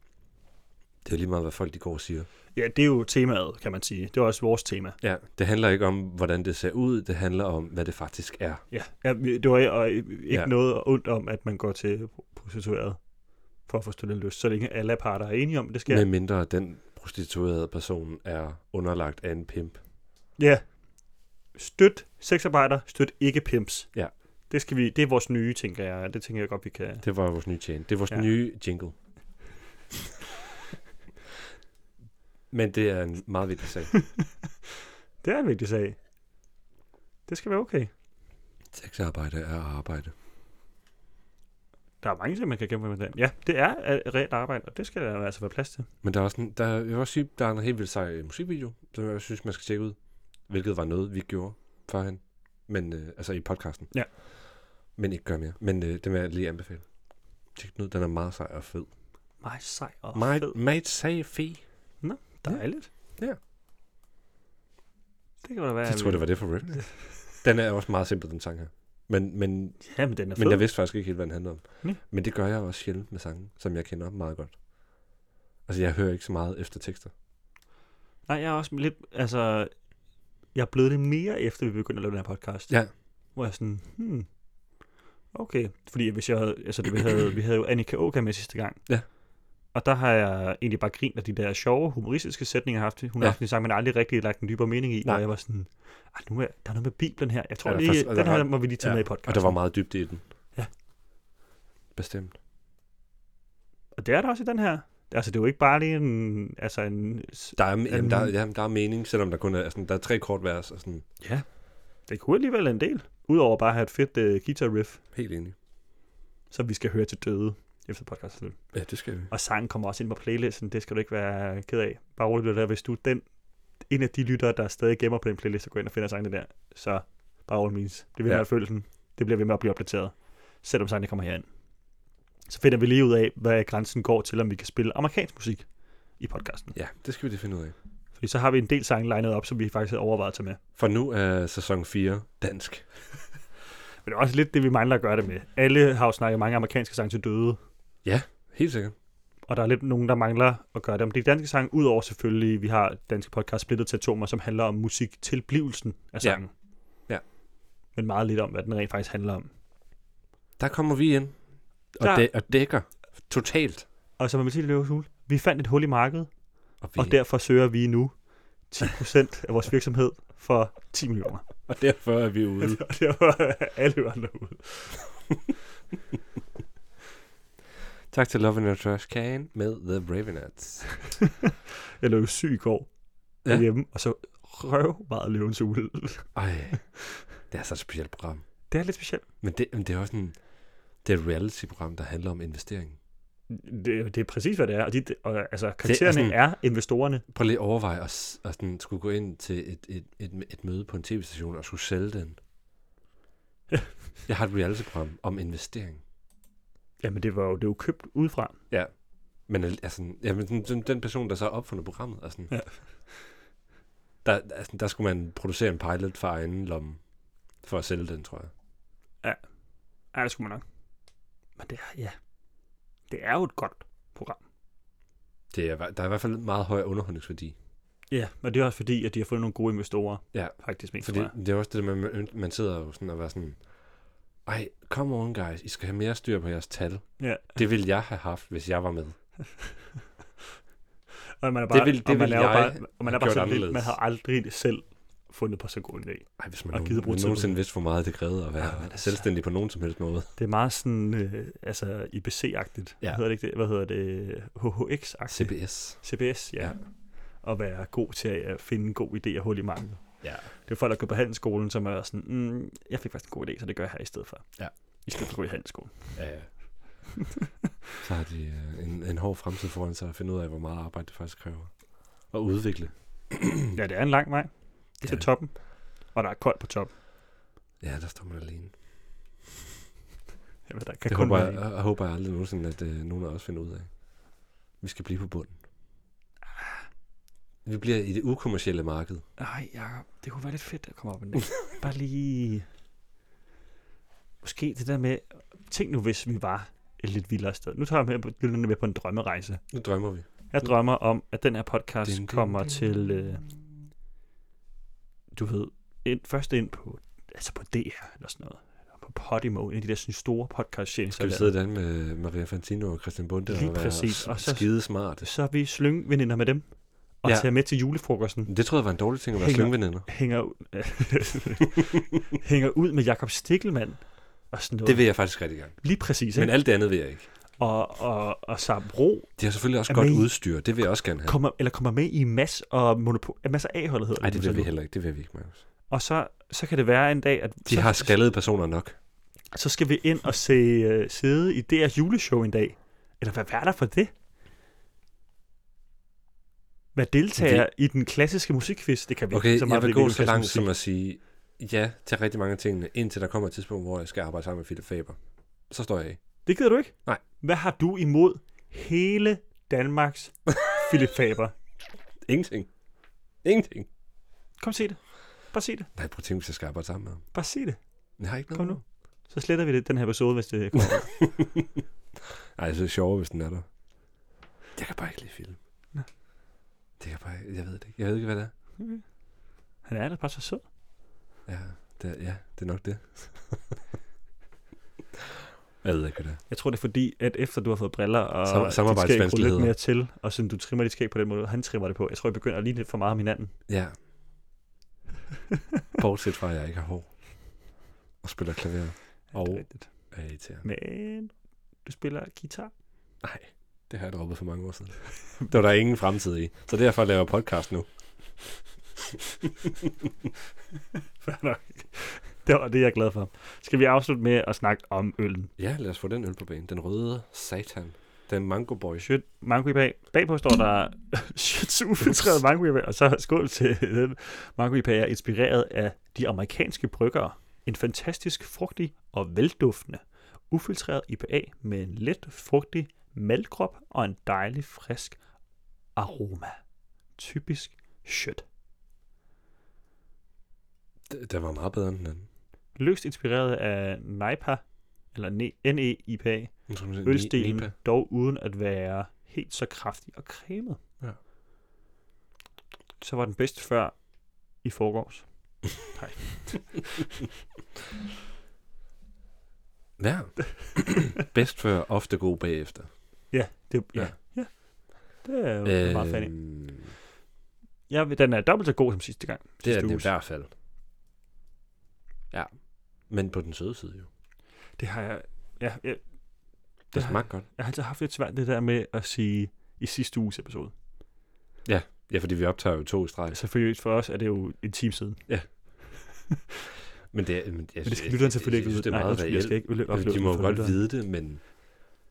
det er lige meget, hvad folk de går og siger.
Ja, det er jo temaet, kan man sige. Det er også vores tema.
Ja, det handler ikke om, hvordan det ser ud, det handler om, hvad det faktisk er.
Ja, ja vi- det var og ikke ja.
Ja.
noget ondt om, at man går til prostitueret for at få stillet lyst, så længe alle parter er enige om, at det skal.
Ja. Med mindre den prostituerede person er underlagt af en pimp.
Ja. Støt sexarbejder, støt ikke pimps.
Ja.
Det, skal vi, det er vores nye, tænker jeg. Det tænker jeg godt, vi kan...
Det var vores nye tjene. Det er vores
Ja.
ja. nye jingle. Men det er en meget vigtig sag.
Det er en vigtig sag. Det skal være okay.
Sexarbejde er arbejde.
Der er mange ting, man kan kæmpe med den. Ja, det er et reelt arbejde, og det skal der altså være plads til.
Men der er også en, der, jeg vil også sige, der er en helt vildt sej øh, musikvideo, som jeg synes, man skal tjekke ud. Hvilket var noget, vi gjorde førhen. Men, øh, altså i podcasten.
Ja.
Men ikke gør mere. Men øh, det vil jeg lige anbefale. Tjek den ud. Den er meget sej og fed.
Meget sej og
meget,
fed.
meget sej fe.
Dejligt.
Ja.
Det kan da være.
Jeg tror, det var det for rap. Den er også meget simpel, den sang her. Men, men
Ja, men den er fed.
Men jeg vidste faktisk ikke helt, hvad den handlede om.
Nej.
Men det gør jeg også sjældent med sange, som jeg kender meget godt. Altså, jeg hører ikke så meget efter tekster.
Nej, jeg er også lidt, altså, jeg er blevet det mere, efter vi begyndte at lave den her podcast.
Ja.
Hvor jeg sådan, hmm, okay. Fordi hvis jeg havde, altså det, vi havde, vi havde jo Annika Åka med sidste gang.
Ja.
Og der har jeg egentlig bare grint af de der sjove, humoristiske sætninger, jeg har haft. Hun har
Ja.
haft en sang, man aldrig rigtig lagt en dybere mening i.
Nej.
Og jeg var sådan, "Ah, nu er, der er noget med Bibelen her. Jeg tror
Ja, der er
lige,
faktisk- og
den
der
her
var-
må vi lige tage med i podcasten.
Og der var meget dybt i den.
Ja.
Bestemt.
og det er der også i den her. Altså, det er jo ikke bare lige en, altså en,
Der er, jamen, der,
Mm.
jamen, der er mening, selvom der kun er, sådan, der er tre kort vers. Og sådan,
det kunne alligevel en del. Udover bare at have et fedt uh, guitar riff,
helt enig.
som vi skal høre til døde efter podcasten.
Ja, det skal vi.
Og sangen kommer også ind på playlisten, det skal du ikke være ked af. Bare roligt lytter, hvis du er den, en af de lyttere, der stadig gemmer på den playlist, og går ind og finder sangene der, så bare all means. Det vil ja.
Ja.
være følelsen. Det bliver ved med at blive opdateret, selvom sangene kommer herind. Så finder vi lige ud af, hvad grænsen går til, om vi kan spille amerikansk musik i podcasten.
Ja, det skal vi lige finde ud af.
Fordi så har vi en del sange legnet op, som vi faktisk havde overvejet at tage med.
For nu er sæson 4 dansk.
Men det er også lidt det, vi mangler at gøre det med. Alle har jo snakket mange amerikanske sange til døde,
Helt sikkert.
og der er lidt nogen, der mangler at gøre det om de danske sange, udover selvfølgelig, vi har danske podcast splittet til atomer, som handler om musik tilblivelsen af
Ja.
sangen.
Ja.
Men meget lidt om, hvad den rent faktisk handler om.
Der kommer vi ind. Og,
Der-
dæ- og dækker. Totalt.
Og som Mathilde Løvshul, vi fandt et hul i markedet,
Og, vi,
og derfor søger vi nu 10% af vores virksomhed for 10 millioner.
og derfor er vi ude.
Og det var alle ørerne ud.
tak til Love in a Trash Can med The Ravenets.
Jeg lå jo syg i går
Ja.
derhjemme, og så røv meget løvens hule.
Ej, det er så et specielt program.
Det er lidt specielt.
Men det, men det er også sådan, det er et reality-program, der handler om investering.
Det, det er præcis, hvad det er. Og, de, og altså, karaktererne
sådan-
er investorerne.
Prøv lige at overveje at, s- at sådan, skulle gå ind til et, et, et, et møde på en tv-station og skulle sælge den.
Ja.
Jeg har et reality-program om investering.
Jamen, det var jo, det var jo købt udefra.
Men al- altså, jamen, den, den, den person, der så har opfundet programmet, er sådan,
Ja.
der, altså, der skulle man producere en pilot for egen lomme for at sælge den, tror jeg.
Ja, det skulle man nok. Men det er, ja. Det er jo et godt program.
Det er, der er i hvert fald meget høj underholdningsværdi.
Ja, men det er også fordi, at de har fundet nogle gode investorer.
Ja.
Faktisk mest,
Fordi
Fordi...
det er også det, der, man, man sidder jo sådan og var sådan, ej, come on guys, I skal have mere styr på jeres tal.
Ja.
Det ville jeg have haft, hvis jeg var med.
Og man er
Det
bare,
vil- det
og man
vil
er jo
jeg
bare, og man er
have
bare
gjort
sådan lidt,
anderledes.
man har aldrig selv fundet på så god en idé.
Ej, hvis man
Og
nogen,
gider bruge tid på
nogensinde
det.
vidste, hvor meget det krævede at
Ja,
være
men
ja,
altså.
selvstændig på nogen som helst måde.
Det er meget sådan, øh, altså IBC-agtigt. Hvad
Ja.
hedder det ikke det? Hvad hedder det? HHX-agtigt.
CBS.
CBS, ja.
Ja.
ja. At være god til at finde en god idé og hul i markedet.
Ja.
Det er folk, der går på handelsskolen, som er sådan, mm, jeg fik faktisk en god idé, så det gør jeg her i stedet for.
Ja.
I stedet for at gå i handelsskolen.
ja. ja. Så har de øh, en, en hård fremtid foran sig at finde ud af, hvor meget arbejde det faktisk kræver. Og udvikle.
Ja, det er en lang vej
Det
til
er-
toppen. Og der er koldt på toppen.
Ja, der står man alene.
Jamen, der kan
Det
kun
håber
være
jeg,
en.
jeg, jeg håber jeg aldrig nogensinde, at øh, nogen af os finder ud af. Vi skal blive på bunden. Vi bliver i det ukommercielle marked.
Ej, Jacob, det kunne være lidt fedt at komme op en dag. Bare lige... måske det der med, tænk nu hvis vi var et lidt vildere sted. Nu tager jeg med, lytterne med på en drømmerejse.
Nu drømmer vi.
Jeg
Mm.
drømmer om, at den her podcast
Ding, ding,
kommer til, øh, du ved, ind, først ind på, altså på DR eller sådan noget, eller på Podimo, en af de der sådan, store podcast
Skal vi sidde der med Maria Fantino og Christian Bunde
Lige
og være
præcis, og
og
så-
så... skide smarte?
Så er vi slyngveninder med dem, og ja.
Ja.
tager med til julefrokosten,
Det troede jeg var en dårlig ting at være
Hænger.
slyngveninder.
hænger, ud- hænger ud med Jakob Stikkelmann og sådan noget.
Det vil jeg faktisk rigtig gerne.
Lige præcis,
Men
ikke?
alt det andet vil jeg ikke.
Og, og, og Sabro
De har selvfølgelig også
Amen.
godt udstyr. Det vil jeg også gerne have.
kommer, eller kommer med i Mads og Monopol, Mads og A-holdet hedder
Nej, det
jo så
vil vi
nu.
heller ikke. Det vil vi ikke, Marius.
Og så, så kan det være en dag, at
De
så,
har skaldede personer nok.
så skal vi ind og se, uh, sidde i DR's juleshow en dag. Eller hvad er der for det? Hvad deltager i den klassiske musikquiz? Det kan vi
Okay,
ikke så meget,
jeg vil
fordi vi
gå
ikke
så
er
langt
klassisk
som at sige ja til rigtig mange af tingene, indtil der kommer et tidspunkt, hvor jeg skal arbejde sammen med Philip Faber. Så står jeg af.
musik. Det gider du ikke?
Nej.
Hvad har du imod hele Danmarks Philip Faber?
Ingenting. Ingenting.
Kom se det. Bare se det.
Nej, prøv at tænke, hvis jeg skal arbejde sammen med ham.
Bare se det.
Jeg har ikke noget
Kom nu.
imod.
Så sletter vi det, den her episode, hvis det kommer.
Ej, så er det sjovere, hvis den er der. Jeg kan bare ikke lide film.
Nå.
Det kan bare ikke. Jeg ved det ikke. Jeg ved ikke, hvad det er.
Han er da bare så sød.
Ja, det er, ja, det er nok det. jeg ved ikke, hvad det er.
Jeg tror, det er fordi, at efter du har fået briller, og
Sam-
dit skæg ruller
samarbejdsvanskeligheder.
lidt mere til, og sådan du trimmer dit skæg på den måde, han trimmer det på. Jeg tror, jeg begynder at ligne lidt for meget om hinanden.
Ja. Bortset fra, at jeg ikke har hår. Og spiller klaver. Og
Det er rigtigt.
er irriterende.
Men du spiller guitar.
Nej, det har jeg droppet for mange år siden. Det var der ingen fremtid i. Så derfor laver jeg podcast nu.
Fair nok. det var det, jeg er glad for. Skal vi afslutte med at snakke om øllen?
Ja, lad os få den øl på banen. Den røde satan. Den mango boy.
Shit, mango IPA. Bagpå står der shit, ufiltreret mango IPA, og så skål til den. Mango IPA er inspireret af de amerikanske bryggere. En fantastisk frugtig og velduftende ufiltreret IPA med en let frugtig malkrop og en dejlig frisk aroma. Typisk shit.
D- Den var meget bedre end den anden.
Løst inspireret af E NIPA, eller E Ne- NE-IPA,
Nu skal man se,
ølstilen,
Øh, Nipa.
dog uden at være helt så kraftig og cremet.
Ja.
Så var den bedste før i forgårs.
Ja. Bedst før, ofte god bagefter.
Ja, det, ja.
Ja.
ja. Det er jo øh, meget fan af.
Øhm,
Ja, den er dobbelt så god som sidste gang.
Det er
sidste
den i
uges.
hvert fald. Ja. Men på den søde side jo.
Det har jeg... Ja, jeg,
Det
har-
smagte godt.
jeg har altid haft lidt svært det der med at sige i sidste uges episode.
Ja, fordi vi optager jo to i streg.
Altså for, for os er det jo en time siden.
Men det, er, men, jeg,
Men det skal lytteren selvfølgelig ikke
jeg,
vide.
jeg,
Nej,
jeg, jeg, jeg,
undskyld, jeg skal ikke ødelægge
Jamen, de
oplevelsen
må jo
for
godt
lytteren.
vide det, men,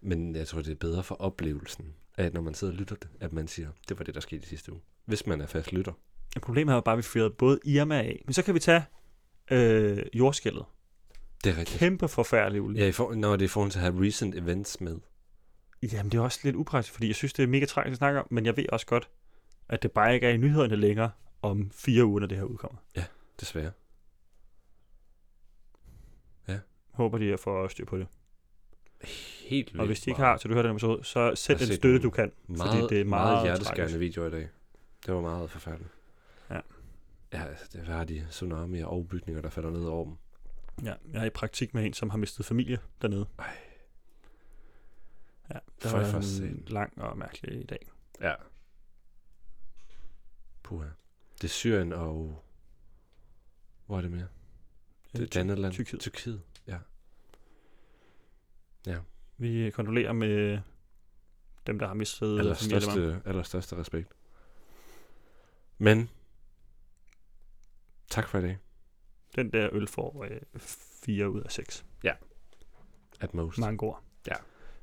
men jeg tror, det er bedre for oplevelsen, at når man sidder og lytter det, at man siger, det var det, der skete i sidste uge. Hvis man er fast lytter.
Men Problemet er jo bare, at vi fyrede både Irma af, men så kan vi tage øh, jordskældet.
Det er rigtigt.
Kæmpe forfærdelig ulykke.
Ja, i for, når det er i forhold til at have recent events med.
Jamen, det er også lidt upraktisk, fordi jeg synes, det er mega tragisk at snakke om, men jeg ved også godt, at det bare ikke er i nyhederne længere om fire uger, når det her udkommer.
Desværre.
Håber de, at jeg får styr på det.
Helt
Og
vildt
hvis de ikke
meget-
har, så du hører den episode, så
Jeg
send
har
den
set
støtte,
nogle
du kan.
meget,
det er meget
meget hjerteskærende
tragisk.
video i dag. Det var meget forfærdeligt.
Ja.
Ja, altså, det var de tsunamier og bygninger, der falder ned over dem.
Ja, jeg er i praktik med en, som har mistet familie dernede.
Ej.
Ja,
For
det var
først
en
sent.
lang og mærkelig dag.
Ja. Puha. Det er Syrien og... Hvor er det mere? Det er et
Ty-
andet land.
Tyrkiet.
Tyrkiet. Ja.
Vi øh, kondolerer med dem, der har mistet familiemedlemmer.
Allerstørste, allerstørste respekt. Men... Tak for i dag.
Den der øl får øh, 4 ud af 6
At most.
mangoer.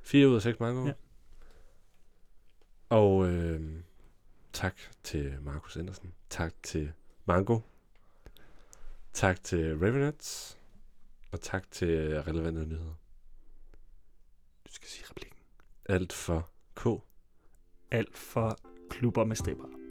4 ud af 6 mango.
Ja.
Ja. Og øh, tak til Markus Andersen. Tak til Mango. Tak til Ravenets. Og tak til Relevante Nyheder.
Du skal sige replikken.
Alt for K.
Alt for klubber med stripper.